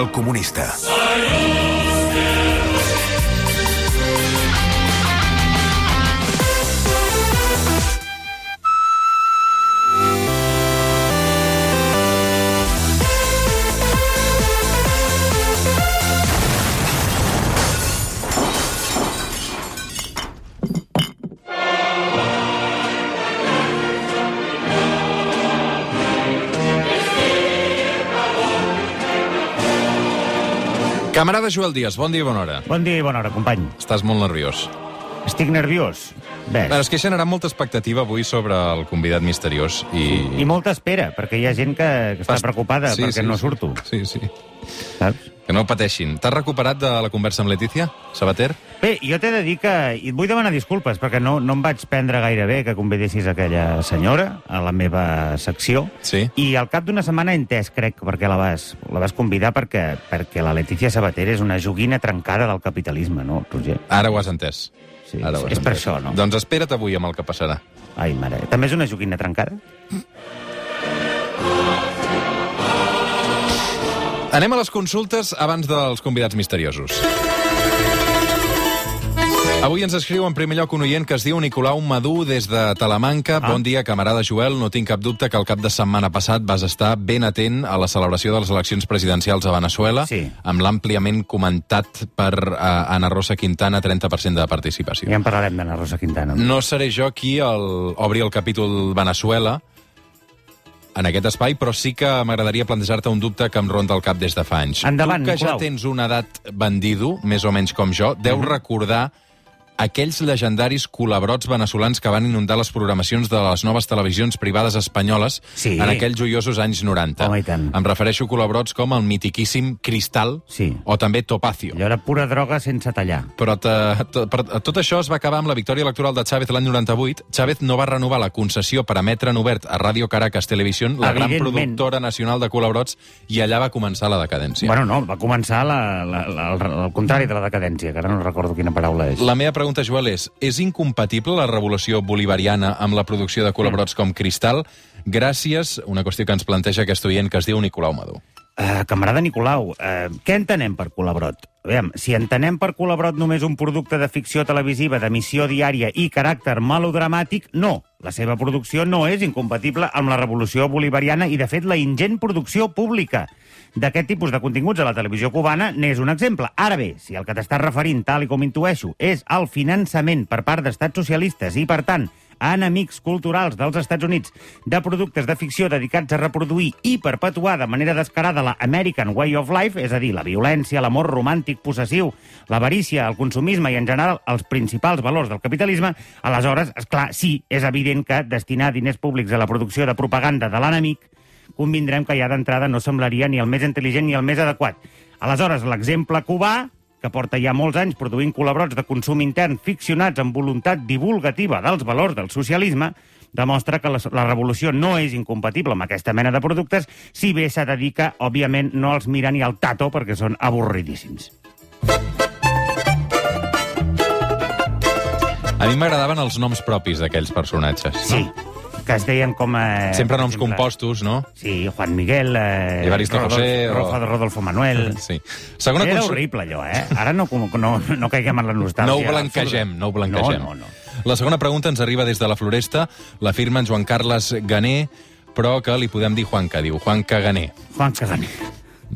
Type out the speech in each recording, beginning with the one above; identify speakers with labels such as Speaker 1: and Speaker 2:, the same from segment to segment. Speaker 1: El comunista.
Speaker 2: Camarada Joel Díaz, bon dia i bona hora.
Speaker 3: Bon dia i bona hora, company.
Speaker 2: Estàs molt nerviós.
Speaker 3: Estic nerviós. Ves.
Speaker 2: Però és que he generat molta expectativa avui sobre el convidat misteriós i...
Speaker 3: I molta espera, perquè hi ha gent que, que està
Speaker 2: Fas-
Speaker 3: preocupada sí, perquè sí, no surto,
Speaker 2: Sí, sí.
Speaker 3: saps?
Speaker 2: Que no pateixin. T'has recuperat de la conversa amb Letícia, Sabater?
Speaker 3: Bé, jo t'he de dir que... I et vull demanar disculpes, perquè no, no em vaig prendre gaire bé que convidessis aquella senyora a la meva secció.
Speaker 2: Sí.
Speaker 3: I al cap d'una setmana he entès, crec, perquè la vas, la vas convidar, perquè, perquè la Letícia Sabater és una joguina trencada del capitalisme, no, Roger?
Speaker 2: Ara ho has entès.
Speaker 3: Sí,
Speaker 2: Ara
Speaker 3: és-
Speaker 2: ho has
Speaker 3: és per
Speaker 2: entès.
Speaker 3: això, no?
Speaker 2: Doncs espera't avui amb el que passarà.
Speaker 3: Ai, mare. També és una joguina trencada?
Speaker 2: Anem a les consultes abans dels convidats misteriosos. Avui ens escriu en primer lloc un oient que es diu Nicolau Madú des de Talamanca. Ah. Bon dia, camarada Joel. No tinc cap dubte que el cap de setmana passat vas estar ben atent a la celebració de les eleccions presidencials a Venezuela,
Speaker 3: Sí.
Speaker 2: amb l'àmpliament comentat per uh, Ana Rosa Quintana, 30% de participació.
Speaker 3: Ja en parlarem d'Anna Rosa Quintana.
Speaker 2: No seré jo qui el, obri el capítol Venezuela en aquest espai, però sí que m'agradaria plantejar-te un dubte que em ronda el cap des de fa anys.
Speaker 3: Endavant,
Speaker 2: tu, que ja
Speaker 3: Nicolau. Mhm.
Speaker 2: tens una edat bandido, més o menys com jo, deu recordar aquells legendaris culebrots veneçolans que van inundar les programacions de les noves televisions privades espanyoles
Speaker 3: Sí.
Speaker 2: en aquells joiosos anys 90.
Speaker 3: Home, i tant.
Speaker 2: Em refereixo a culebrots com el mitiquíssim Cristal
Speaker 3: Sí.
Speaker 2: o també Topacio.
Speaker 3: Allò era pura droga sense tallar.
Speaker 2: Però te, to, per, tot això es va acabar amb la victòria electoral de Chávez l'any 98. Chávez no va renovar la concessió per emetre en obert a Ràdio Caracas Televisión, la gran
Speaker 3: Evidentment.
Speaker 2: productora nacional de culebrots, i allà va començar la
Speaker 3: Sí.
Speaker 2: decadència.
Speaker 3: Bueno, no, va començar la, la, la, el, el contrari de la decadència, que ara no recordo quina paraula és.
Speaker 2: La meva pregunta, Joel, és és incompatible la revolució bolivariana amb la producció de
Speaker 3: Mm.
Speaker 2: culebrots com Cristal? Gràcies, una qüestió que ens planteja aquest oient que es diu Nicolau Madú.
Speaker 3: Uh, camarada Nicolau, uh, què entenem per colabrot? Aviam, si entenem per colabrot només un producte de ficció televisiva d'emissió diària i caràcter melodramàtic, no. La seva producció no és incompatible amb la revolució bolivariana i, de fet, la ingent producció pública d'aquest tipus de continguts a la televisió cubana n'és un exemple. Ara bé, si el que t'estàs referint, tal i com intueixo, és al finançament per part d'estats socialistes i, per tant, a enemics culturals dels Estats Units de productes de ficció dedicats a reproduir i perpetuar de manera descarada la American Way of Life, és a dir, la violència, l'amor romàntic possessiu, l'avarícia, el consumisme i, en general, els principals valors del capitalisme, aleshores, és clar, sí, és evident que destinar diners públics a la producció de propaganda de l'enemic convindrem que ja d'entrada no semblaria ni el més intel·ligent ni el més adequat. Aleshores, l'exemple cubà, que porta ja molts anys produint culebrots de consum intern ficcionats amb voluntat divulgativa dels valors del socialisme, demostra que la, la revolució no és incompatible amb aquesta mena de productes, si bé s'ha de dir que, òbviament, no els mira ni al tato perquè són avorridíssims.
Speaker 2: A mi m'agradaven els noms propis d'aquells personatges.
Speaker 3: Sí,
Speaker 2: No?
Speaker 3: que es deien com... Eh,
Speaker 2: Sempre
Speaker 3: per
Speaker 2: noms
Speaker 3: exemple,
Speaker 2: compostos, no?
Speaker 3: Sí, Juan Miguel... Eh,
Speaker 2: Evaristo José o-
Speaker 3: Rodolfo, Rodolfo Manuel...
Speaker 2: Sí. Segona
Speaker 3: Era
Speaker 2: consul-
Speaker 3: horrible, allò, eh? Ara no, no, no caiguem en la nostàlgia.
Speaker 2: No ho blanquegem, no ho blanquegem.
Speaker 3: No, no, no.
Speaker 2: La segona pregunta ens arriba des de la Floresta. L'afirma en Joan Carles Gané, però que li podem dir Juanca. Diu Juanca Gané.
Speaker 3: Juan Caganer.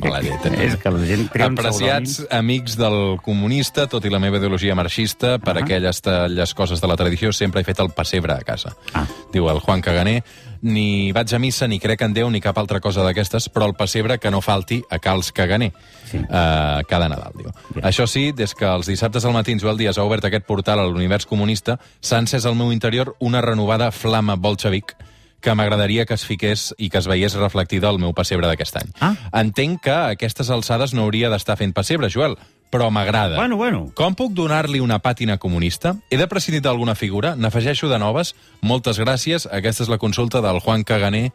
Speaker 2: La lletra.
Speaker 3: És que la gent tria un
Speaker 2: eh? Apreciats amics del comunista, tot i la meva ideologia marxista,
Speaker 3: Ah.
Speaker 2: per uh -huh. aquelles talles coses de la tradició sempre he fet el pessebre a casa.
Speaker 3: Ah.
Speaker 2: Diu el Juan Caganer, ni vaig a missa, ni crec en Déu, ni cap altra cosa d'aquestes, però el pessebre que no falti a Cals Caganer.
Speaker 3: Sí.
Speaker 2: Uh, cada Nadal, diu.
Speaker 3: Ja.
Speaker 2: Això sí, des que els dissabtes al matí Joel Díaz ha obert aquest portal a l'univers comunista, s'ha encès al meu interior una renovada flama bolxevic que m'agradaria que es fiqués i que es veiés reflectida al meu pessebre d'aquest any.
Speaker 3: Ah.
Speaker 2: Entenc que a aquestes alçades no hauria d'estar fent pessebre, Joel, però m'agrada.
Speaker 3: Bueno, bueno.
Speaker 2: Com puc donar-li una pàtina comunista? He de prescindir d'alguna figura? N'afegeixo de noves? Moltes gràcies. Aquesta és la consulta del Juan Caganer,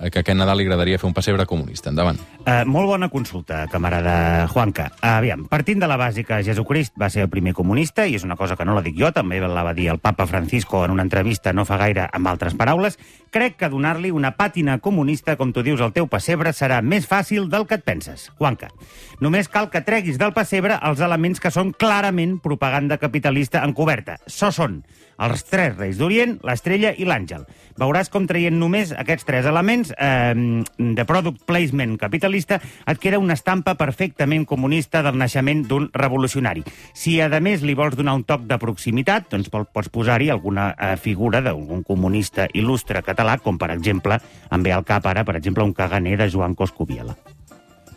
Speaker 2: eh, que aquest Nadal li agradaria fer un pessebre comunista. Endavant.
Speaker 3: Uh, molt bona consulta, camarada Juanca. Uh, aviam, partint de la base que Jesucrist va ser el primer comunista, i és una cosa que no la dic jo, també la va dir el papa Francisco en una entrevista no fa gaire amb altres paraules, crec que donar-li una pàtina comunista, com tu dius, al teu pessebre serà més fàcil del que et penses. Juanca, només cal que treguis del pessebre els elements que són clarament propaganda capitalista encoberta. So són els tres reis d'Orient, l'estrella i l'àngel. Veuràs com traient només aquests tres elements eh, de product placement capitalista et queda una estampa perfectament comunista del naixement d'un revolucionari. Si, a més, li vols donar un toc de proximitat, doncs pol- pots posar-hi alguna eh, figura d'algun comunista il·lustre català, com, per exemple, em ve al cap ara, per exemple, un caganer de Joan Coscubiela.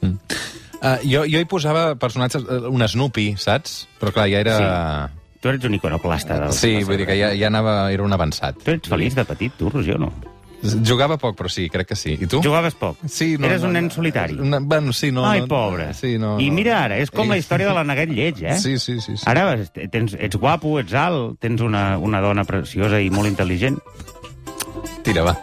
Speaker 2: Uh, jo, jo hi posava personatges, eh, un Snoopy, saps? Però clar, ja era...
Speaker 3: Tu eres un iconoclasta. Del
Speaker 2: Sí, vull dir que ja, ja anava, era un avançat.
Speaker 3: Tu ets feliç de petit, tu, Roger, o no?
Speaker 2: Jugava poc, però sí, crec que sí. I tu?
Speaker 3: Jugaves poc.
Speaker 2: Sí, no,
Speaker 3: eres
Speaker 2: no,
Speaker 3: un nen
Speaker 2: no,
Speaker 3: solitari.
Speaker 2: Una, bueno, sí, no...
Speaker 3: Ai,
Speaker 2: no, eh,
Speaker 3: pobre.
Speaker 2: Sí, no, Eh,
Speaker 3: I
Speaker 2: no.
Speaker 3: mira ara, és com la història de la neguet lleig, eh?
Speaker 2: Sí, sí, sí. sí.
Speaker 3: Ara vas- tens, ets guapo, ets alt, tens una, una dona preciosa i molt intel·ligent.
Speaker 2: Tira, va.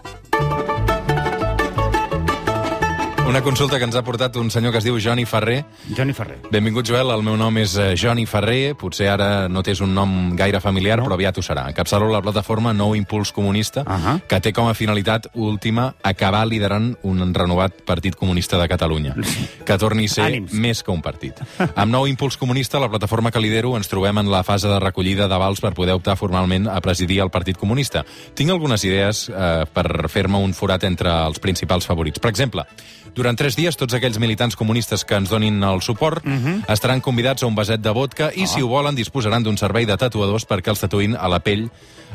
Speaker 2: Una consulta que ens ha portat un senyor que es diu Joni Ferrer.
Speaker 3: Johnny Ferrer.
Speaker 2: Benvingut, Joel, el meu nom és eh, Joni Ferrer. Potser ara no tens un nom gaire familiar, no. però aviat ho serà. Encapçalo la plataforma Nou Impuls Comunista,
Speaker 3: Ahà.
Speaker 2: que té com a finalitat última acabar liderant un renovat Partit Comunista de Catalunya, que torni a ser
Speaker 3: Ànims.
Speaker 2: més que un partit. Amb Nou Impuls Comunista, la plataforma que lidero, ens trobem en la fase de recollida d'avals per poder optar formalment a presidir el Partit Comunista. Tinc algunes idees eh, per fer-me un forat entre els principals favorits. Per exemple, durant tres dies, tots aquells militants comunistes que ens donin el suport estaran convidats a un vaset de vodka i, si ho volen, disposaran d'un servei de tatuadors perquè els tatuïn a la pell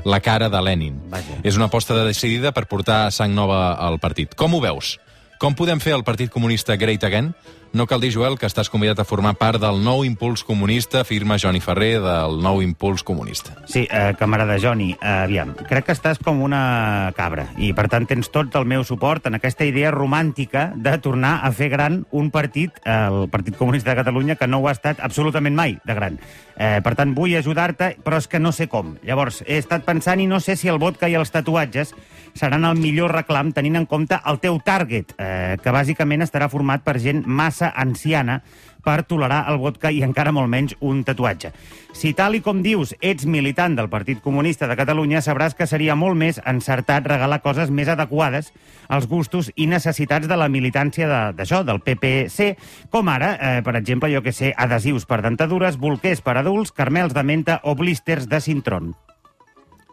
Speaker 2: la cara de Lenin.
Speaker 3: Vaja.
Speaker 2: És una aposta decidida per portar sang nova al partit. Com ho veus? Com podem fer el Partit Comunista Great Again? No cal dir, Joel, que estàs convidat a formar part del nou impuls comunista, firma Joni Ferrer, del nou impuls comunista.
Speaker 3: Sí, eh, camarada Johnny, eh, aviam, crec que estàs com una cabra i, per tant, tens tot el meu suport en aquesta idea romàntica de tornar a fer gran un partit, eh, el Partit Comunista de Catalunya, que no ho ha estat absolutament mai de gran. Eh, per tant, vull ajudar-te, però és que no sé com. Llavors, he estat pensant i no sé si el vodka i els tatuatges seran el millor reclam tenint en compte el teu target, eh, que bàsicament estarà format per gent massa anciana per tolerar el vodka i encara molt menys un tatuatge. Si tal i com dius ets militant del Partit Comunista de Catalunya, sabràs que seria molt més encertat regalar coses més adequades als gustos i necessitats de la militància de- d'això, de, del PPC, com ara, eh, per exemple, jo que sé, adhesius per dentadures, bolquers per adults, carmels de menta o blísters de cintron.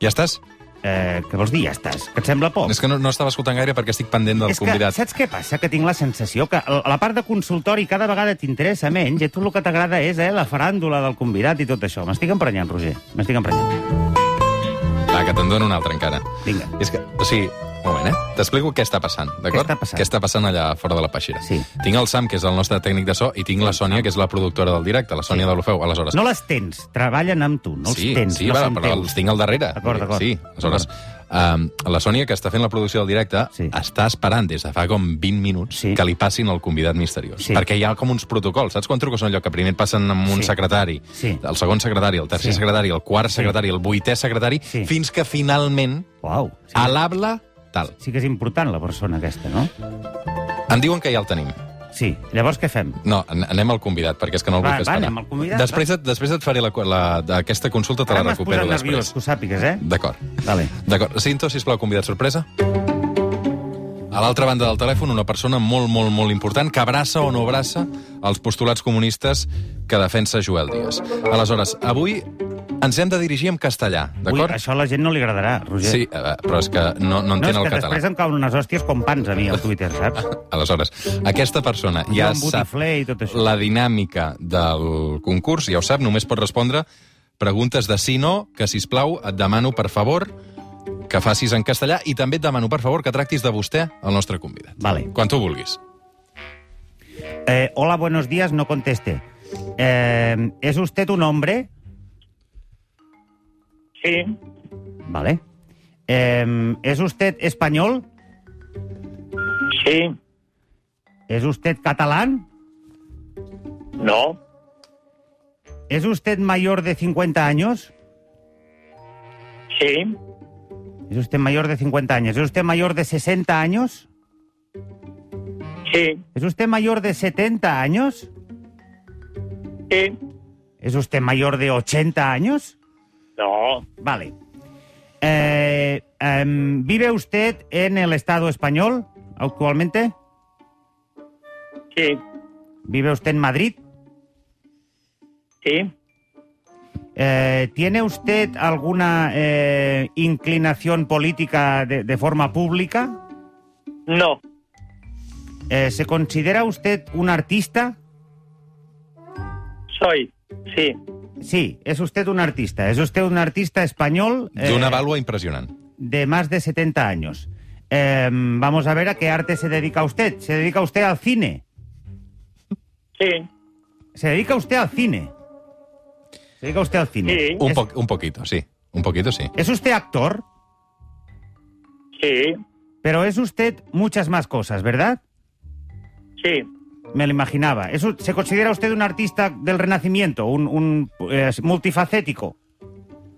Speaker 2: Ja estàs?
Speaker 3: Eh, què vols dir, ja estàs? Que et sembla poc?
Speaker 2: És que no, no estava escoltant gaire perquè estic pendent del
Speaker 3: Oh. és
Speaker 2: convidat.
Speaker 3: que, saps què passa? Que tinc la sensació que la la part de consultori cada vegada t'interessa menys i a tu el que t'agrada és eh, la faràndula del convidat i tot això. M'estic emprenyant, Roger. M'estic emprenyant.
Speaker 2: Va, Ah, que te'n dono un altre encara.
Speaker 3: Vinga.
Speaker 2: És que, o sigui, un moment, eh? T'explico què està passant, d'acord?
Speaker 3: està passant?
Speaker 2: Què està passant allà fora de la peixera.
Speaker 3: Sí.
Speaker 2: Tinc el Sam, que és el nostre tècnic de so, i tinc la Sònia, que és la productora del directe, la Sònia sí. de l'Ofeu, aleshores.
Speaker 3: No les tens, treballen amb tu, no els
Speaker 2: sí,
Speaker 3: tens,
Speaker 2: sí,
Speaker 3: no
Speaker 2: va,
Speaker 3: són
Speaker 2: però
Speaker 3: teus.
Speaker 2: els tinc al darrere.
Speaker 3: D'acord, d'acord.
Speaker 2: Sí, aleshores, um, la Sònia, que està fent la producció del directe,
Speaker 3: Sí.
Speaker 2: sí. està esperant des de fa com 20 minuts
Speaker 3: Sí.
Speaker 2: que li passin el convidat misteriós.
Speaker 3: Sí.
Speaker 2: Perquè hi ha com uns protocols. Saps quan truques a un lloc que primer et passen amb un
Speaker 3: Sí.
Speaker 2: secretari,
Speaker 3: Sí.
Speaker 2: el segon secretari, el tercer
Speaker 3: Sí.
Speaker 2: secretari, el quart secretari, el vuitè secretari,
Speaker 3: Sí.
Speaker 2: fins que finalment,
Speaker 3: Uau. Sí,
Speaker 2: a l'habla, tal.
Speaker 3: sí que és important, la persona aquesta, no?
Speaker 2: Em diuen que ja el tenim.
Speaker 3: Sí. Llavors què fem?
Speaker 2: No, an- anem al convidat, perquè és que no el
Speaker 3: Va,
Speaker 2: vull fer
Speaker 3: va,
Speaker 2: esperar.
Speaker 3: anem al convidat, Ah,
Speaker 2: després, et, després et faré la, la, aquesta consulta, te
Speaker 3: Ara
Speaker 2: la
Speaker 3: m'has posat
Speaker 2: recupero
Speaker 3: nerviós,
Speaker 2: després.
Speaker 3: que ho sàpigues, eh?
Speaker 2: D'acord.
Speaker 3: Vale.
Speaker 2: D'acord. Cinto, sisplau, convidat sorpresa. A l'altra banda del telèfon, una persona molt, molt, molt important que abraça o no abraça els postulats comunistes que defensa Joel Díaz. Aleshores, avui ens hem de dirigir en castellà,
Speaker 3: Ui,
Speaker 2: d'acord?
Speaker 3: això a la gent no li agradarà, Roger.
Speaker 2: Sí, eh, però és que no, no
Speaker 3: No, és
Speaker 2: entén el
Speaker 3: que
Speaker 2: català.
Speaker 3: després em cauen unes hòsties com pans a mi al Twitter, saps?
Speaker 2: Aleshores, aquesta persona ja
Speaker 3: un
Speaker 2: sap
Speaker 3: botifler i tot això.
Speaker 2: la dinàmica del concurs, ja ho sap, només pot respondre preguntes de sí no, que, si plau et demano, per favor, que facis en castellà i també et demano, per favor, que tractis de vostè el nostre convidat.
Speaker 3: Vale.
Speaker 2: Quan tu vulguis.
Speaker 3: Eh, hola, buenos días, no conteste. Eh, ¿Es usted un hombre?
Speaker 1: Sí,
Speaker 3: Vale. Eh, ¿Es usted español?
Speaker 1: sí,
Speaker 3: ¿Es usted catalán?
Speaker 1: no,
Speaker 3: ¿Es usted mayor de 50 años?
Speaker 1: sí,
Speaker 3: ¿Es usted mayor de 50 años? ¿Es usted mayor de 60 años?
Speaker 1: Sí,
Speaker 3: ¿Es usted mayor de 70 años?
Speaker 1: sí.
Speaker 3: ¿Es usted mayor de 80 años?
Speaker 1: No,
Speaker 3: Vale. Eh, em, ¿Vive usted en el Estado español actualmente?
Speaker 1: sí,
Speaker 3: ¿Vive usted en Madrid?
Speaker 1: sí.
Speaker 3: Eh, ¿Tiene usted alguna eh, inclinación política de, de forma pública?
Speaker 1: No,
Speaker 3: Eh, ¿Se considera usted un artista?
Speaker 1: soy. Sí,
Speaker 3: Sí, es usted un artista. Es usted un artista español eh,
Speaker 2: D'una vàlua impressionant.
Speaker 3: de más de 70 años. Em, vamos a ver a qué arte se dedica usted. ¿Se dedica usted al cine?
Speaker 1: sí,
Speaker 3: ¿Se dedica usted al cine? ¿Se dedica usted al cine?
Speaker 1: Sí.
Speaker 2: Un,
Speaker 3: ¿Es,
Speaker 2: po un poquito, sí. Un poquito, sí.
Speaker 3: es usted actor?
Speaker 1: sí,
Speaker 3: Pero es usted muchas más cosas, ¿verdad?
Speaker 1: sí.
Speaker 3: Me lo imaginaba. Es u- ¿Se considera usted un artista del Renacimiento, un, un, eh, multifacético?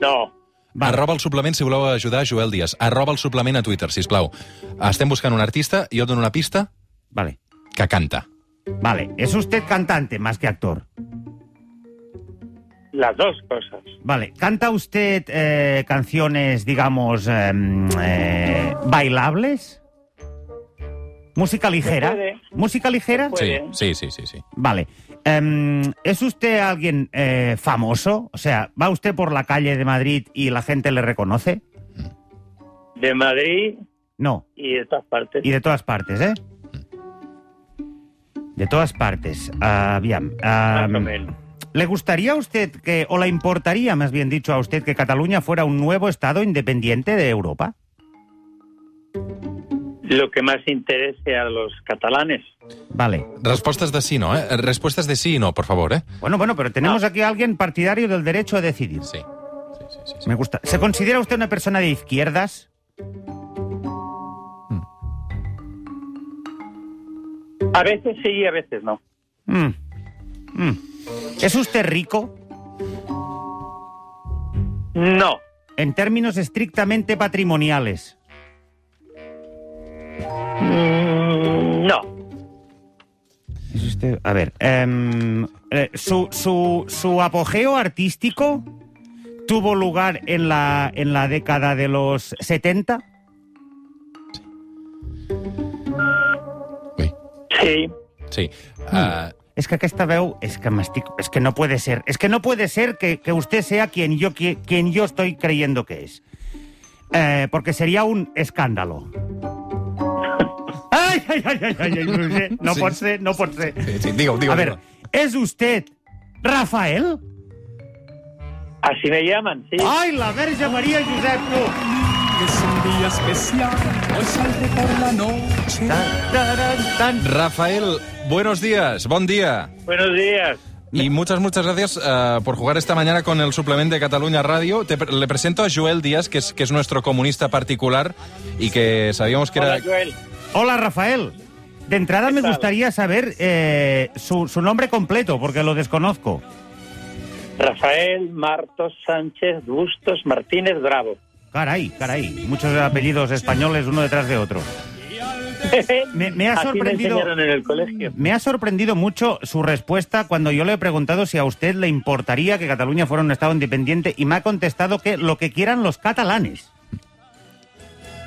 Speaker 1: No,
Speaker 3: Va,
Speaker 2: Arroba el suplement si voleu ajudar Joel Díaz. Arroba el suplement a Twitter, si plau. Estem buscant un artista, jo et dono una pista,
Speaker 3: Vale,
Speaker 2: que canta.
Speaker 3: vale. Es usted cantante más que actor.
Speaker 1: las dos cosas.
Speaker 3: Vale, ¿canta usted eh, canciones, digamos, eh, eh, bailables? ¿Música ligera?
Speaker 1: puede.
Speaker 3: ¿Música ligera?
Speaker 1: Puede. Muy
Speaker 2: Sí,
Speaker 1: bien.
Speaker 2: sí, sí, sí, sí.
Speaker 3: Vale. Em, ¿Es usted alguien eh, famoso? O sea, ¿va usted por la calle de Madrid y la gente le reconoce?
Speaker 1: De Madrid
Speaker 3: No,
Speaker 1: y de estas partes.
Speaker 3: Y de todas partes, ¿eh? De todas partes. Ah, bien. Ah,
Speaker 1: Más o menos.
Speaker 3: ¿Le gustaría a usted que, o le importaría, más bien dicho, a usted que Cataluña fuera un nuevo Estado independiente de Europa?
Speaker 1: Lo que más interese a los catalanes.
Speaker 3: Vale.
Speaker 2: Respostes de sí no, eh? Respostes de sí i no, por favor, eh?
Speaker 3: Bueno, bueno, pero tenemos aquí a alguien partidario del derecho a decidir.
Speaker 2: Sí. Sí, sí, sí, sí.
Speaker 3: Me gusta. ¿Se considera usted una persona de izquierdas?
Speaker 1: A veces sí y a veces no.
Speaker 3: Mm. Mm. ¿Es usted rico?
Speaker 1: No,
Speaker 3: En términos estrictamente patrimoniales.
Speaker 1: Mm, no.
Speaker 3: Es usted- A ver, em, eh, su, su- su apogeo artístico tuvo lugar en la, en la década de los 70.
Speaker 2: Ui.
Speaker 1: Sí,
Speaker 2: Sí.
Speaker 3: Mm.
Speaker 2: Uh,
Speaker 3: Es que aquesta veu, es que m'estic- es que no puede ser, es que no puede ser que, que usted sea quien yo, qui- quien yo estoy creyendo que es. Eh, porque sería un escándalo. Ay, ay, ay, ay, ay, ay, no, sé, no
Speaker 2: Sí.
Speaker 3: pot ser, no pot ser.
Speaker 2: sí, sí, digue-ho, digue-ho.
Speaker 3: A ver, ¿es usted Rafael?
Speaker 1: así me llaman, sí.
Speaker 3: Ay, la Verge María Josep, no.
Speaker 4: Es un día especial, hoy saldré por la noche.
Speaker 2: Rafael, buenos días, bon dia.
Speaker 1: Buenos días.
Speaker 2: Y muchas, muchas gracias eh, por jugar esta mañana con el suplemento de Cataluña Radio. Te pre- le presento a Joel Díaz, que es, que es nuestro comunista particular y que sabíamos que
Speaker 1: Hola,
Speaker 2: era...
Speaker 1: Joel.
Speaker 3: Hola, Rafael. De entrada
Speaker 1: ¿Qué
Speaker 3: me
Speaker 1: tal?
Speaker 3: gustaría saber eh, su, su nombre completo, porque lo desconozco.
Speaker 1: Rafael Martos Sánchez Bustos Martínez Bravo.
Speaker 3: Caray, caray. Muchos apellidos españoles uno detrás de otro. Me- me ha
Speaker 1: Así
Speaker 3: sorprendido-
Speaker 1: Me enseñaron en el colegio.
Speaker 3: Me ha sorprendido mucho su respuesta cuando yo le he preguntado si a usted le importaría que Cataluña fuera un Estado independiente y me ha contestado que lo que quieran los catalanes.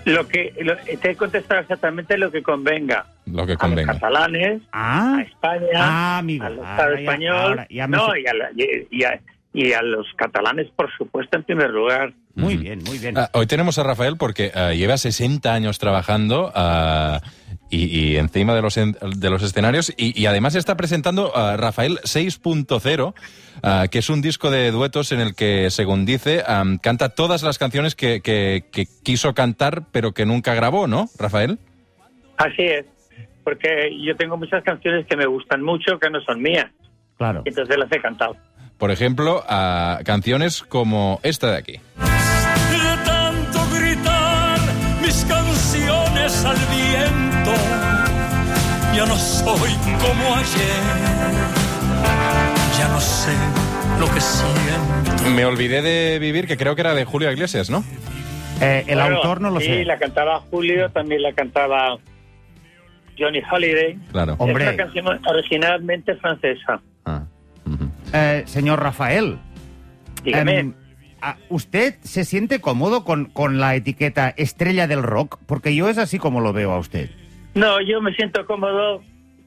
Speaker 1: Lo que lo- te he contestado exactamente lo que convenga.
Speaker 2: Lo que
Speaker 1: A los
Speaker 2: convenga.
Speaker 1: catalanes,
Speaker 3: Ah,
Speaker 1: a España,
Speaker 3: Ah, amigo.
Speaker 1: al Estado
Speaker 3: Ahora ya-
Speaker 1: español,
Speaker 3: ahora ya me
Speaker 1: no,
Speaker 3: sé.
Speaker 1: y a, la- y- y a- y a los catalanes, por supuesto, en primer lugar.
Speaker 3: muy
Speaker 2: Ujú.
Speaker 3: bien, muy bien.
Speaker 2: Ah, hoy tenemos a Rafael porque ah, lleva 60 años trabajando ah, y, y encima de los, en- de los escenarios y, y además está presentando ah, Rafael 6.0, ah, que es un disco de duetos en el que, según dice, am, canta todas las canciones que, que- que quiso cantar pero que nunca grabó, ¿no, Rafael?
Speaker 1: Así es, porque yo tengo muchas canciones que me gustan mucho que no son mías,
Speaker 3: Claro.
Speaker 1: y entonces las he cantado.
Speaker 2: Por ejemplo, a canciones como esta de aquí.
Speaker 4: De tanto gritar mis canciones al viento, ya no soy como ayer, ya no sé lo que siento.
Speaker 2: Me olvidé de vivir, que creo que era de Julio Iglesias, ¿no?
Speaker 3: Eh, el
Speaker 1: Bueno,
Speaker 3: autor no lo
Speaker 1: sí,
Speaker 3: sé.
Speaker 1: la cantaba Julio, también la cantaba Johnny Holiday,
Speaker 2: Claro.
Speaker 3: Hom- Hombre.
Speaker 1: es una canción originalmente francesa.
Speaker 2: Ah. mhm.
Speaker 3: Eh, señor Rafael,
Speaker 1: Dígame,
Speaker 3: em, ah, ¿usted se siente cómodo con, con la etiqueta estrella del rock? Porque yo es así como lo veo a usted.
Speaker 1: no, yo me siento cómodo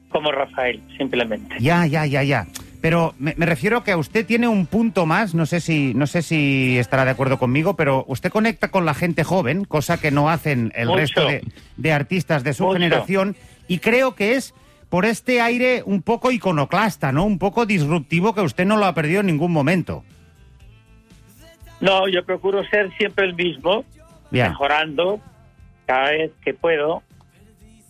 Speaker 1: como Rafael, simplemente.
Speaker 3: Ya, ya, ya, ya. Pero me, me refiero que usted tiene un punto más, no sé si no sé si estará de acuerdo conmigo, pero usted conecta con la gente joven, cosa que no hacen el
Speaker 1: Mucho.
Speaker 3: resto de, de artistas de su
Speaker 1: Mucho.
Speaker 3: generación, y creo que es por este aire un poco iconoclasta, ¿no? Un poco disruptivo que usted no lo ha perdido en ningún momento.
Speaker 1: No, yo procuro ser siempre el mismo,
Speaker 3: Ya.
Speaker 1: mejorando cada vez que puedo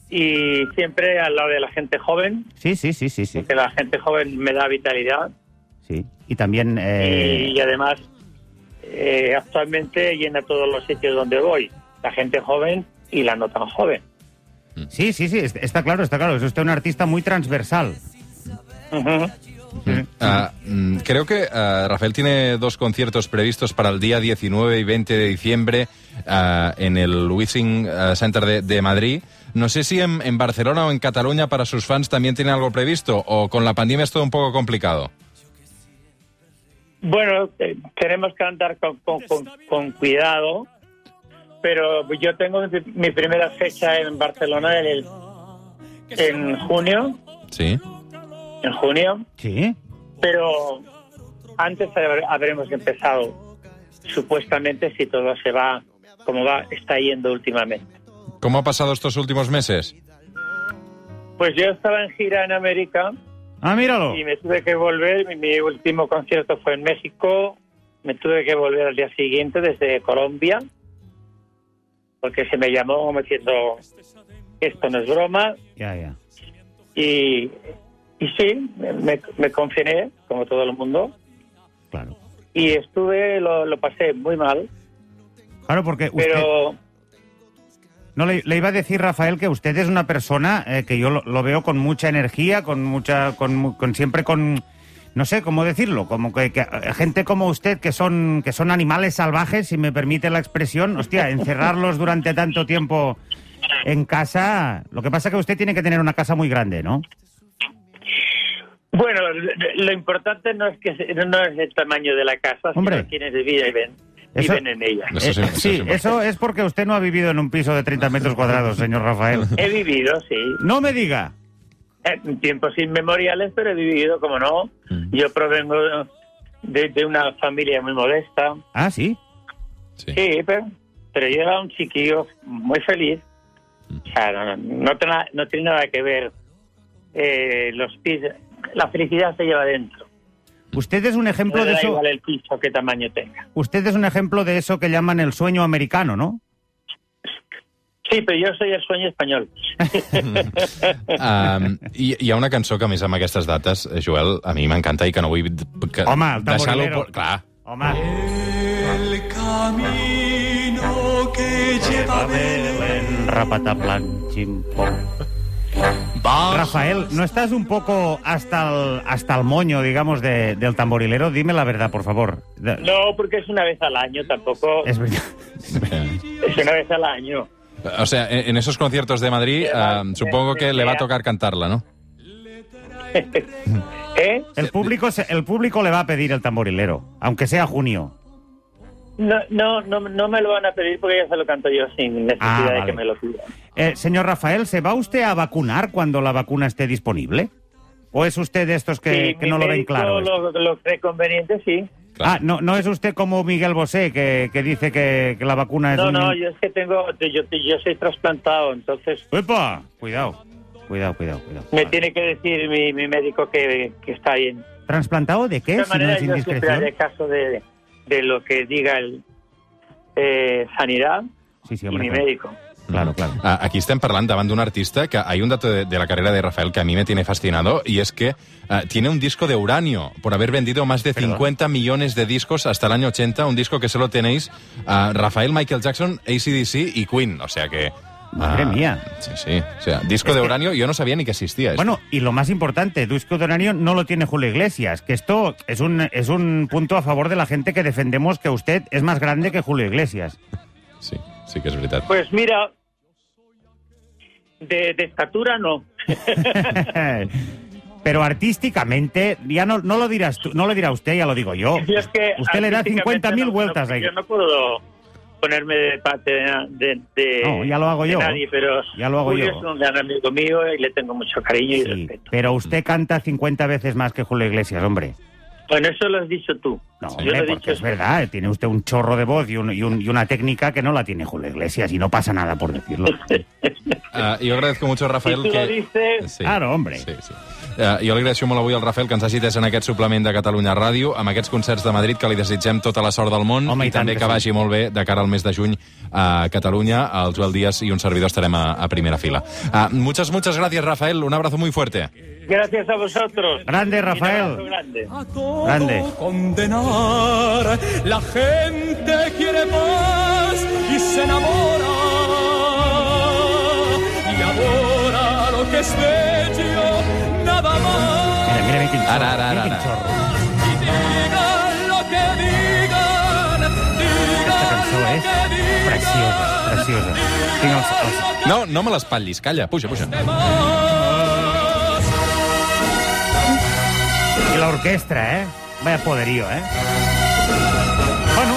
Speaker 1: y siempre al lado de la gente joven,
Speaker 3: Sí, sí, sí, sí, sí.
Speaker 1: que la gente joven me da vitalidad
Speaker 3: sí. Y también eh,
Speaker 1: y, y además eh, actualmente llena todos los sitios donde voy, la gente joven y la no tan joven.
Speaker 3: sí, sí, sí, est- está claro, está claro. Es usted un artista muy transversal.
Speaker 1: Ujú.
Speaker 2: Ah, mm, creo que ah, Rafael tiene dos conciertos previstos para el día 19 y 20 de diciembre ah, en el Wissing ah, Center de, de Madrid. No sé si en, en Barcelona o en Cataluña para sus fans también tiene algo previsto o con la pandemia es todo un poco complicado.
Speaker 1: Bueno, eh, tenemos que andar con, con- con- con cuidado, pero yo tengo mi, mi primera fecha en Barcelona en, el- en junio,
Speaker 2: Sí.
Speaker 1: en junio,
Speaker 3: Sí.
Speaker 1: pero antes habre- habremos empezado, supuestamente, si todo se va como va, está yendo últimamente.
Speaker 2: ¿Cómo ha pasado estos últimos meses?
Speaker 1: Pues yo estaba en gira en América
Speaker 3: Ah, míralo.
Speaker 1: y me tuve que volver, mi, mi último concierto fue en México, me tuve que volver al día siguiente desde Colombia, porque se me llamó como diciendo, esto no es broma,
Speaker 3: Ya, ya.
Speaker 1: y, y sí, me- me, me confiné, como todo el mundo,
Speaker 3: Claro.
Speaker 1: y estuve, lo, lo pasé muy mal,
Speaker 3: Claro, porque usted...
Speaker 1: pero...
Speaker 3: No, le, le iba a decir, Rafael, que usted es una persona eh, que yo lo, lo veo con mucha energía, con mucha, con, mu- con siempre con, no sé cómo decirlo, como que, que, eh, gente como usted que son, que son animales salvajes, si me permite la expresión, hostia, encerrarlos durante tanto tiempo en casa, lo que pasa que usted tiene que tener una casa muy grande, ¿no?
Speaker 1: Bueno, lo lo importante no es que se- no es el tamaño de la casa,
Speaker 3: Hombre.
Speaker 1: sino quienes viven, viven,
Speaker 3: Eso-
Speaker 1: viven en ella.
Speaker 2: Eso sí, eso sí.
Speaker 3: Eh, sí, eso es porque usted no ha vivido en un piso de 30 metros cuadrados, señor Rafael.
Speaker 1: He vivido, sí,
Speaker 3: No me diga.
Speaker 1: en tiempos inmemoriales, pero he vivido, como no.
Speaker 2: Mm.
Speaker 1: Yo provengo de, de una familia muy modesta,
Speaker 3: Ah, sí.
Speaker 2: Sí.
Speaker 1: sí, pero, pero yo era un chiquillo muy feliz.
Speaker 3: Mm.
Speaker 1: O sea, no, no tiene nada- no tiene nada que ver eh, los pisos. La felicidad se lleva dentro.
Speaker 3: Usted es un
Speaker 1: No
Speaker 3: ejemplo
Speaker 1: le
Speaker 3: de
Speaker 1: da
Speaker 3: eso.
Speaker 1: igual el piso, qué tamaño tenga.
Speaker 3: Usted es un ejemplo de eso que llaman el sueño americano, ¿no?
Speaker 1: Sí, pero yo soy el sueño español.
Speaker 2: Um, hi, hi ha una cançó que, a més, amb aquestes dates, eh, Joel, a mi m'encanta i que no vull... d- Que
Speaker 3: Home, el tamborilero.
Speaker 2: por- Clar.
Speaker 3: Home,
Speaker 4: El camino que lleva a Belén.
Speaker 3: rapataplan, chimpón.
Speaker 4: Va
Speaker 3: Rafael, ¿no estás un poco hasta el, hasta el moño, digamos, de- del tamborilero? Dime la verdad, por favor. De-
Speaker 1: No, porque es una vez al año, tampoco.
Speaker 3: Es verdad.
Speaker 2: Eh.
Speaker 1: Es una vez al año.
Speaker 2: O sea, en en esos conciertos de Madrid, um, supongo que le va a tocar cantarla, ¿no?
Speaker 1: ¿Eh?
Speaker 3: El público, se- el público le va a pedir el tamborilero, aunque sea junio.
Speaker 1: No, no, no, no me lo van a pedir porque ya se lo canto yo sin necesidad
Speaker 3: Ah,
Speaker 1: de
Speaker 3: vale.
Speaker 1: que me lo pidan.
Speaker 3: Eh, señor Rafael, ¿se va usted a vacunar cuando la vacuna esté disponible? ¿O es usted de estos que,
Speaker 1: Sí,
Speaker 3: que
Speaker 1: mi
Speaker 3: no lo ven
Speaker 1: médico
Speaker 3: claro? esto?
Speaker 1: Lo, lo cree conveniente, sí.
Speaker 3: Ah, no, no es usted como Miguel Bosé, que, que dice que, que la vacuna es
Speaker 1: No,
Speaker 3: un-
Speaker 1: no, yo es que tengo. Yo, yo soy trasplantado, entonces
Speaker 3: ¡Epa! Cuidado, cuidado, cuidado, cuidado.
Speaker 1: me
Speaker 3: Vale.
Speaker 1: tiene que decir mi, mi médico que, que está bien.
Speaker 3: ¿Transplantado de
Speaker 1: De
Speaker 3: qué?
Speaker 1: todas
Speaker 3: Si no
Speaker 1: maneras,
Speaker 3: es
Speaker 1: yo siempre
Speaker 3: indiscreción.
Speaker 1: haré caso de, de lo que diga el eh, Sanidad
Speaker 3: Sí, sí,
Speaker 1: y
Speaker 3: hombre,
Speaker 1: mi
Speaker 3: claro.
Speaker 1: médico.
Speaker 3: Claro, claro.
Speaker 2: Ah, Aquí estem parlant davant d'un artista que hay un dato de, de la carrera de Rafael que a mí me tiene fascinado y es que ah, tiene un disco de uranio por haber vendido más de 50 millones de discos hasta el año 80, un disco que solo tenéis ah, Rafael, Michael Jackson, ACDC y Queen, o sea que... ah,
Speaker 3: Madre mía.
Speaker 2: Sí, sí. O sea, disco de uranio, yo no sabía ni que existía. esto.
Speaker 3: Bueno, y lo más importante, Duisco Donario no lo tiene Julio Iglesias, que esto es un, es un punto a favor de la gente que defendemos que usted es más grande que Julio Iglesias.
Speaker 2: Sí, sí que és veritat.
Speaker 1: Pues mira, Pues de, de estatura no.
Speaker 3: Pero artísticamente, ya no, no lo dirás tú, no lo dirá usted, ya lo digo yo.
Speaker 1: Yo es que
Speaker 3: usted le da
Speaker 1: artísticamente
Speaker 3: 50.000
Speaker 1: no-
Speaker 3: vueltas
Speaker 1: no,
Speaker 3: ahí.
Speaker 1: Yo no puedo ponerme de parte de, de- de-
Speaker 3: No, ya lo hago
Speaker 1: de
Speaker 3: yo.
Speaker 1: nadie, pero
Speaker 3: Ya lo hago
Speaker 1: Julio
Speaker 3: yo.
Speaker 1: es un gran amigo mío y le tengo mucho cariño y
Speaker 3: Sí,
Speaker 1: respeto.
Speaker 3: pero usted canta 50 veces más que Julio Iglesias, hombre.
Speaker 1: Bueno, eso lo has dicho tú.
Speaker 3: No,
Speaker 1: yo
Speaker 3: hombre,
Speaker 1: lo he
Speaker 3: porque
Speaker 1: dicho.
Speaker 3: es verdad, eh, tiene usted un chorro de voz y, un- y un- y una técnica que no la tiene Julio Iglesias y no pasa nada por decirlo.
Speaker 2: Ah, jo agradezco mucho,
Speaker 1: Si
Speaker 2: Rafael,
Speaker 1: tú lo
Speaker 2: que...
Speaker 1: dices,
Speaker 2: Sí.
Speaker 3: Claro, hombre.
Speaker 2: Sí, sí. Eh, jo li agraeixo molt avui al Rafael que ens hagi atès en aquest suplement de Catalunya Ràdio, amb aquests concerts de Madrid que li desitgem tota la sort del món
Speaker 3: Home,
Speaker 2: i,
Speaker 3: i tant
Speaker 2: també
Speaker 3: que
Speaker 2: que
Speaker 3: sí.
Speaker 2: vagi molt bé de cara al mes de juny a Catalunya. El Joel Díaz i un servidor estarem a, a primera fila. Ah, muchas, muchas gracias, Rafael. Un abrazo muy fuerte.
Speaker 1: gracias a vosotros.
Speaker 3: Grande,
Speaker 1: Un abrazo
Speaker 3: Rafael.
Speaker 1: grande.
Speaker 4: A todo
Speaker 3: Grande.
Speaker 4: condenar. La gente quiere más y se enamora. Y ahora lo que es bello, nada más.
Speaker 3: Mira, mira, mira quin xorro.
Speaker 2: Ara, ara, ara,
Speaker 3: mira quin
Speaker 2: ara.
Speaker 3: xorro.
Speaker 4: Y digan lo que digan,
Speaker 3: Aquesta
Speaker 4: digan
Speaker 3: cançó
Speaker 4: lo
Speaker 3: és
Speaker 4: que digan.
Speaker 3: preciosa, preciosa. Tinc els, els...
Speaker 4: Lo que
Speaker 2: No, no me l'espatllis, calla, puja, puja.
Speaker 4: más.
Speaker 3: I l'orquestra, eh? Vaya poderío, eh? Bueno,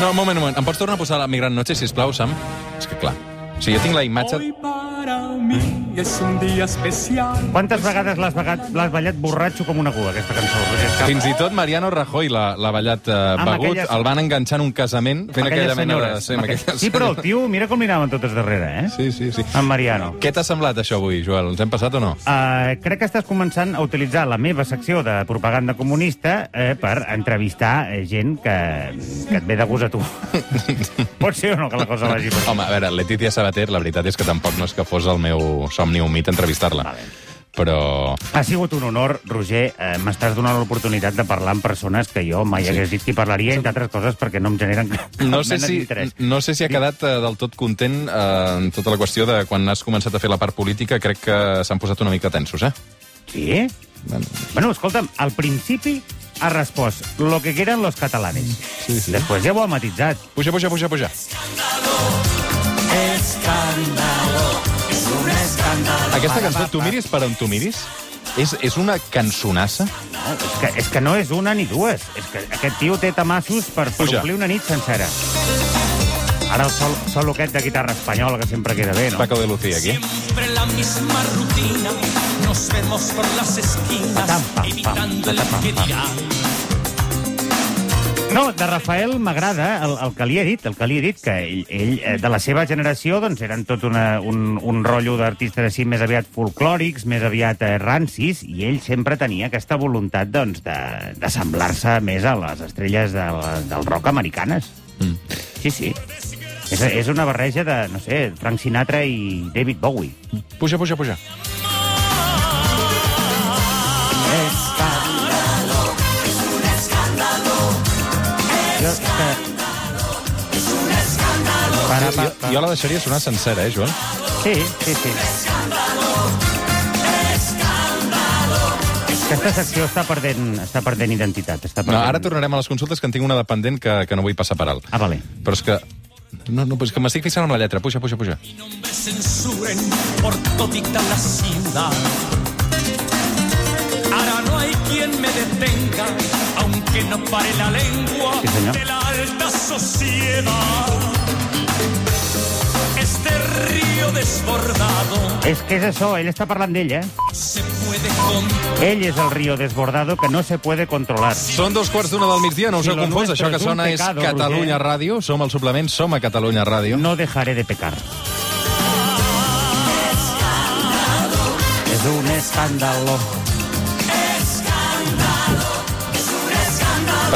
Speaker 2: No, un moment, un moment. Em pots tornar a posar la Migrant Noche, sisplau, Sam? És que clar, si jo tinc la imatge...
Speaker 4: Hoy para mí es un día especial.
Speaker 3: quantes vegades l'has ballat, l'has ballat borratxo com una gula, aquesta cançó? Perquè és que
Speaker 2: Fins i tot Mariano Rajoy l'ha l'ha ballat eh, begut,
Speaker 3: aquelles-
Speaker 2: el van enganxar en un casament fent aquella
Speaker 3: aquelles
Speaker 2: mena de...
Speaker 3: senyores.
Speaker 2: Sí, amb
Speaker 3: aquelles-
Speaker 2: aquelles
Speaker 3: Sí, però el
Speaker 2: senyores.
Speaker 3: tio, mira com li anaven totes darrere, eh?
Speaker 2: Sí, sí, sí.
Speaker 3: En Mariano.
Speaker 2: Què t'ha semblat això avui, Joel? Ens hem passat o no?
Speaker 3: Uh, crec que estàs començant a utilitzar la meva secció de propaganda comunista eh, per entrevistar eh, gent que, que et ve de gust a tu. Pot ser o no que la cosa vagi per
Speaker 2: Home, a veure, Letícia Sabater, la veritat és que tampoc no és que fos el meu somni humit entrevistar-la.
Speaker 3: Vale.
Speaker 2: Però...
Speaker 3: Ha sigut un honor, Roger. Eh, M'estàs donant l'oportunitat de parlar amb persones que jo mai
Speaker 2: Sí.
Speaker 3: sí. hagués dit que hi parlaria, entre altres coses, perquè no em generen cap
Speaker 2: No sé,
Speaker 3: mena
Speaker 2: si,
Speaker 3: d'interès.
Speaker 2: no sé si ha quedat eh, del tot content eh, en tota la qüestió de quan has començat a fer la part política, crec que s'han posat una mica tensos, eh?
Speaker 3: Sí?
Speaker 2: Bueno,
Speaker 3: Bueno, escolta'm, al principi ha respost lo que quieran los catalanes. Sí, sí. Després ja ho ha matitzat.
Speaker 2: Puja, puja, puja, puja. Aquesta cançó, tu miris per on tu miris, és, és una cançonassa.
Speaker 3: No, és, que, és que no és una ni dues. És que aquest tio té tamassos per, per
Speaker 2: Puja.
Speaker 3: omplir una nit sencera. Ara el sol, sol aquest de guitarra espanyola, que sempre queda bé, no?
Speaker 2: Paco de Lucía, aquí.
Speaker 5: Siempre la misma rutina, nos vemos por las esquinas,
Speaker 3: Patam, pam, pam,
Speaker 5: evitando el
Speaker 3: patam,
Speaker 5: que
Speaker 3: pam, pam.
Speaker 5: dirá.
Speaker 3: No, de Rafael m'agrada el, el que li he dit, el que li he dit, que ell, ell eh, de la seva generació doncs, eren tot una, un, un rotllo d'artistes així més aviat folclòrics, més aviat eh, rancis, i ell sempre tenia aquesta voluntat doncs, de, de semblar-se més a les estrelles de, la- del rock americanes.
Speaker 2: Mm.
Speaker 3: Sí, sí. És, és una barreja de, no sé, Frank Sinatra i David Bowie.
Speaker 2: Puja, puja, puja.
Speaker 3: Jo, és que... Para,
Speaker 2: Jo,
Speaker 3: pa, pa.
Speaker 2: jo la deixaria sonar sencera, eh, Joan?
Speaker 3: Sí, sí, sí. Aquesta secció està perdent, està perdent identitat. Està
Speaker 2: No,
Speaker 3: perdent...
Speaker 2: ara tornarem a les consultes, que en tinc una dependent que, que no vull passar per alt.
Speaker 3: Ah, vale.
Speaker 2: Però és que... No, no, però és que m'estic fixant amb la lletra. Puja, puja, puja.
Speaker 5: Mi nombre censuren por todita la ciudad. Ahora no hay quien me detenga, aunque no pare la lengua
Speaker 3: Sí, señor.
Speaker 5: de la alta sociedad. Este río desbordado
Speaker 3: És que és això, ell està parlant d'ell, eh?
Speaker 5: se puede contar.
Speaker 3: Ell és el río desbordado que no se puede controlar.
Speaker 2: Són dos quarts d'una del migdia, no us
Speaker 3: Si
Speaker 2: heu
Speaker 3: lo
Speaker 2: confós.
Speaker 3: nuestro
Speaker 2: Això que
Speaker 3: es un
Speaker 2: sona és
Speaker 3: pecado,
Speaker 2: Catalunya
Speaker 3: Roger.
Speaker 2: Ràdio. Som al suplement, som a Catalunya Ràdio.
Speaker 3: No dejaré de pecar. És un escàndalo.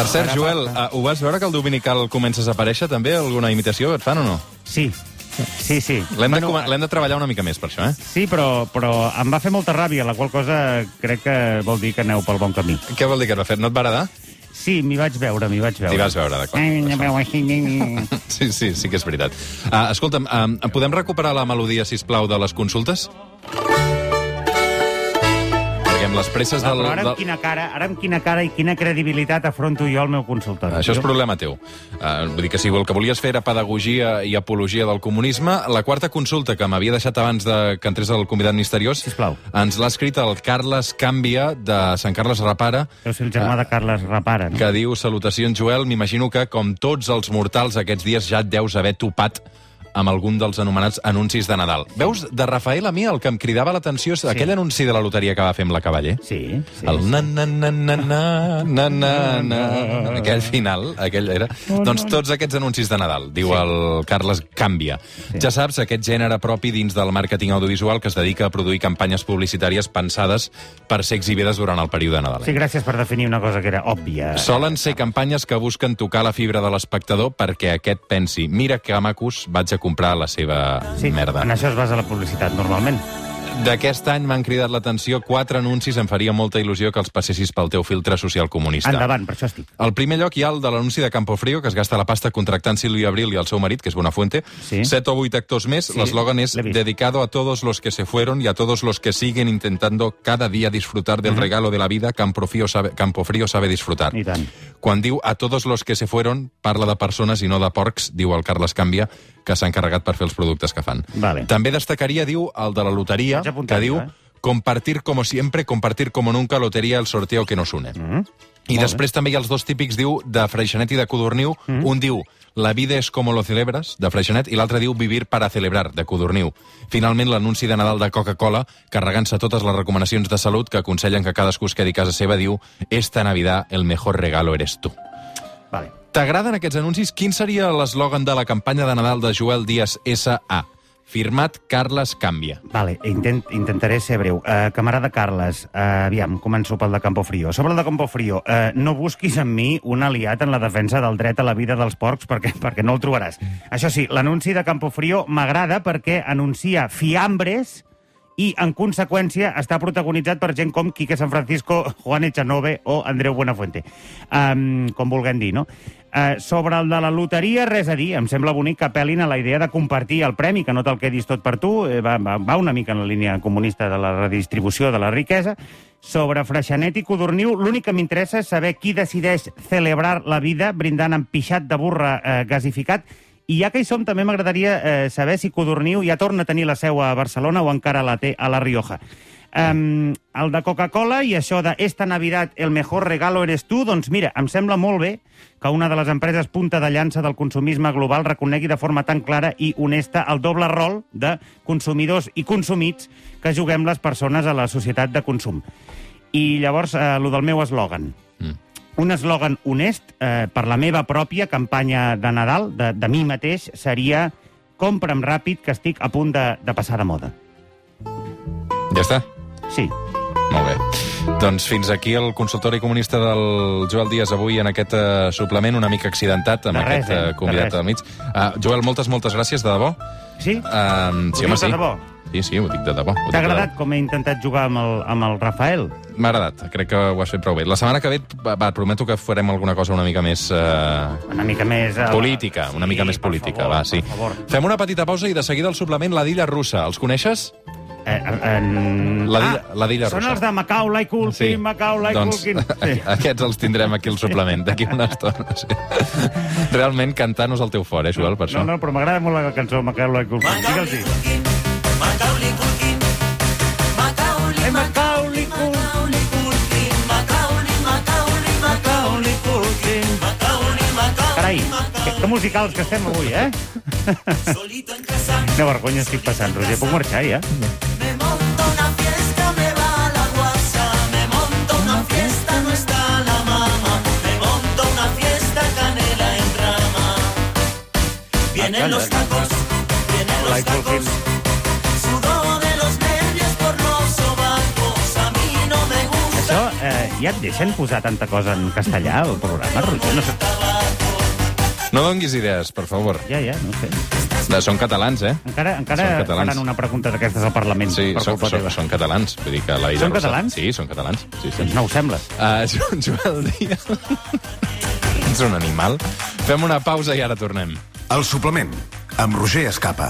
Speaker 2: Per cert, Joel, eh, ho vas veure que el Dominical comences a aparèixer també? Alguna imitació et fan o no?
Speaker 3: Sí, sí, sí.
Speaker 2: L'hem de, com- l'hem de treballar una mica més per això, eh?
Speaker 3: Sí, però, però em va fer molta ràbia, la qual cosa crec que vol dir que aneu pel bon camí.
Speaker 2: Què vol dir que et va fer? No et va agradar?
Speaker 3: Sí, m'hi vaig veure, m'hi vaig veure.
Speaker 2: T'hi vas veure, d'acord. Mm.
Speaker 3: Ai, ja veu així.
Speaker 2: Sí, sí, sí que és veritat. Uh, escolta'm, uh, podem recuperar la melodia, si plau de les consultes? Perquè amb les presses
Speaker 3: Clar,
Speaker 2: del...
Speaker 3: Ah, però ara amb,
Speaker 2: del...
Speaker 3: quina cara, ara amb quina cara i quina credibilitat afronto jo el meu consultori?
Speaker 2: Ah, Això és
Speaker 3: Jo-
Speaker 2: problema teu. Uh, vull dir que si el que volies fer era pedagogia i apologia del comunisme, la quarta consulta que m'havia deixat abans de que entrés el convidat misteriós
Speaker 3: Sisplau.
Speaker 2: ens l'ha escrit el Carles Canvia, de Sant Carles Repara,
Speaker 3: Deu ser el germà de Carles Repara, no?
Speaker 2: Ah. que diu, salutacions Joel, m'imagino que com tots els mortals aquests dies ja et deus haver topat amb algun dels anomenats anuncis de Nadal. Veus, de Rafael a mi el que em cridava l'atenció és sí. aquell anunci de la loteria que va fer amb la Cavaller.
Speaker 3: Sí, sí.
Speaker 2: El na na na na na na na na aquell final, aquell era.
Speaker 3: Oh,
Speaker 2: Doncs tots aquests anuncis de Nadal, diu el Carles Canvia. Ja saps, aquest gènere propi dins del màrqueting audiovisual que es dedica a produir campanyes publicitàries pensades per ser exhibides durant el període Nadal.
Speaker 3: Sí, gràcies per definir una cosa que era òbvia.
Speaker 2: Solen ser campanyes que busquen tocar la fibra de l'espectador perquè aquest pensi mira que macos vaig a comprar la seva
Speaker 3: sí,
Speaker 2: merda.
Speaker 3: En això es basa la publicitat, normalment.
Speaker 2: D'aquest any m'han cridat l'atenció quatre anuncis, em faria molta il·lusió que els passessis pel teu filtre social comunista.
Speaker 3: Endavant, per això estic.
Speaker 2: Al primer lloc hi ha el de l'anunci de Campofrío, que es gasta la pasta contractant Silvia Abril i el seu marit, que és Buenafuente.
Speaker 3: Sí.
Speaker 2: Set o vuit actors més.
Speaker 3: Sí,
Speaker 2: L'eslògan és
Speaker 3: l'he vist.
Speaker 2: dedicado a todos los que se fueron y a todos los que siguen intentando cada día disfrutar del regalo de la vida. Campofrío sabe, Campofrío sabe disfrutar.
Speaker 3: I tant.
Speaker 2: Quan diu a todos los que se fueron, parla de persones i no de porcs, diu el Carles Canvia, que s'ha encarregat per fer els productes que fan.
Speaker 3: Vale.
Speaker 2: També destacaria, diu, el de la loteria,
Speaker 3: Vaig apuntant,
Speaker 2: que diu...
Speaker 3: eh?
Speaker 2: Compartir como siempre, compartir como nunca, lotería, el sorteo que nos une.
Speaker 3: Mm?
Speaker 2: I
Speaker 3: Molt
Speaker 2: després també hi ha els dos típics, diu, de Freixenet i de Codorniu. Mm. Un diu, la vida és com lo celebres, de Freixenet, i l'altre diu, vivir para celebrar, de Codorniu. Finalment, l'anunci de Nadal de Coca-Cola, carregant-se totes les recomanacions de salut que aconsellen que cadascú es quedi a casa seva, diu, esta Navidad el mejor regalo eres tu.
Speaker 3: Vale.
Speaker 2: T'agraden aquests anuncis? Quin seria l'eslògan de la campanya de Nadal de Joel Díaz S.A.? Firmat Carles Canvia.
Speaker 3: Vale, intent, intentaré ser breu. Uh, camarada Carles, uh, aviam, començo pel de Campofrío. Sobre el de Campofrío, uh, no busquis en mi un aliat en la defensa del dret a la vida dels porcs perquè, perquè no el trobaràs. Això sí, l'anunci de Campofrío m'agrada perquè anuncia fiambres i, en conseqüència, està protagonitzat per gent com Quique San Francisco, Juan Echanove o Andreu Buenafuente. Um, com vulguem dir, no? Uh, sobre el de la loteria, res a dir. Em sembla bonic que apel·lin a la idea de compartir el premi, que no te'l quedis tot per tu. Eh, Va, va, va una mica en la línia comunista de la redistribució de la riquesa. Sobre Freixenet i Codorniu, l'únic que m'interessa és saber qui decideix celebrar la vida brindant amb pixat de burra eh, gasificat i ja que hi som, també m'agradaria eh, saber si Codorniu ja torna a tenir la seu a Barcelona o encara la té a La Rioja. Um, el de Coca-Cola i això de esta Navidad el mejor regalo eres tu, doncs mira, em sembla molt bé que una de les empreses punta de llança del consumisme global reconegui de forma tan clara i honesta el doble rol de consumidors i consumits que juguem les persones a la societat de consum. I llavors, eh, lo del meu eslògan un eslògan honest eh, per la meva pròpia campanya de Nadal, de, de mi mateix, seria compra'm ràpid que estic a punt de, de passar de moda.
Speaker 2: Ja està?
Speaker 3: Sí.
Speaker 2: Molt bé. Doncs fins aquí el consultori comunista del Joel Díaz avui en aquest uh, suplement una mica accidentat amb
Speaker 3: De res,
Speaker 2: aquest eh,
Speaker 3: eh?
Speaker 2: convidat
Speaker 3: De res.
Speaker 2: al mig. Uh, Joel, moltes, moltes gràcies, de debò.
Speaker 3: Sí?
Speaker 2: Uh, sí, home,
Speaker 3: Ho dius de
Speaker 2: sí.
Speaker 3: debò?
Speaker 2: Sí, sí, ho dic de debò. ho dic de
Speaker 3: T'ha agradat
Speaker 2: debò.
Speaker 3: com he intentat jugar amb el, amb el Rafael?
Speaker 2: M'ha agradat, crec que ho has fet prou bé. La setmana que ve, va, va, et prometo que farem alguna cosa una mica més... Uh...
Speaker 3: Una mica més... eh,
Speaker 2: Política, una mica
Speaker 3: sí,
Speaker 2: més
Speaker 3: per
Speaker 2: política,
Speaker 3: favor,
Speaker 2: va, sí.
Speaker 3: Per favor.
Speaker 2: Fem una petita pausa i de seguida el suplement La Dilla Russa. Els coneixes?
Speaker 3: Eh, eh, en... Ah,
Speaker 2: La dilla- la dilla
Speaker 3: són
Speaker 2: russa.
Speaker 3: els de Macaulay Culkin, Macaulay
Speaker 2: doncs,
Speaker 3: Culkin... Sí.
Speaker 2: Aquests els tindrem aquí al suplement, d'aquí una estona. Sí. Realment, cantar-nos el teu fort, eh, Joel, per això.
Speaker 3: No, no, però m'agrada molt la cançó Macaulay Culkin. Digue'ls-hi.
Speaker 5: Macaulay Culkin, Macaulay,
Speaker 3: Eh, Macaulay Culkin.
Speaker 5: Macaulay Culkin, Macaulay, Macaulay, Macaulay Culkin, Macaulay, Macaulay.
Speaker 3: Carai, que, que musicals que estem avui, eh?
Speaker 5: Solito en casa,
Speaker 3: Quina vergonya estic passant, Roger. Puc marxar, ja?
Speaker 5: me monto una fiesta, me va la guasa. Me monto una fiesta, no está la mamá. Me monto una fiesta, canela en rama. Vienen los tacos, vienen los
Speaker 3: Macaulay
Speaker 5: tacos.
Speaker 3: Culkin.
Speaker 5: Sudó de los nervios por los sobacos. A mí no me gusta.
Speaker 3: Això, eh, ja et deixen posar tanta cosa en castellà al programa, Roger? No sé,
Speaker 2: No donguis idees, per favor.
Speaker 3: ja, ja, no sé.
Speaker 2: De, són catalans, eh?
Speaker 3: Encara, encara
Speaker 2: Són catalans.
Speaker 3: faran una pregunta d'aquestes al Parlament,
Speaker 2: Sí,
Speaker 3: per
Speaker 2: són,
Speaker 3: culpa
Speaker 2: són,
Speaker 3: teva.
Speaker 2: són catalans. Vull dir que la vida
Speaker 3: Són
Speaker 2: russa-
Speaker 3: catalans?
Speaker 2: Sí, són catalans. Sí, sí.
Speaker 3: Doncs no ho sembla.
Speaker 2: Uh, Joan, Joel Díaz... Ets un animal. Fem una pausa i ara tornem.
Speaker 6: El suplement, amb Roger Escapa.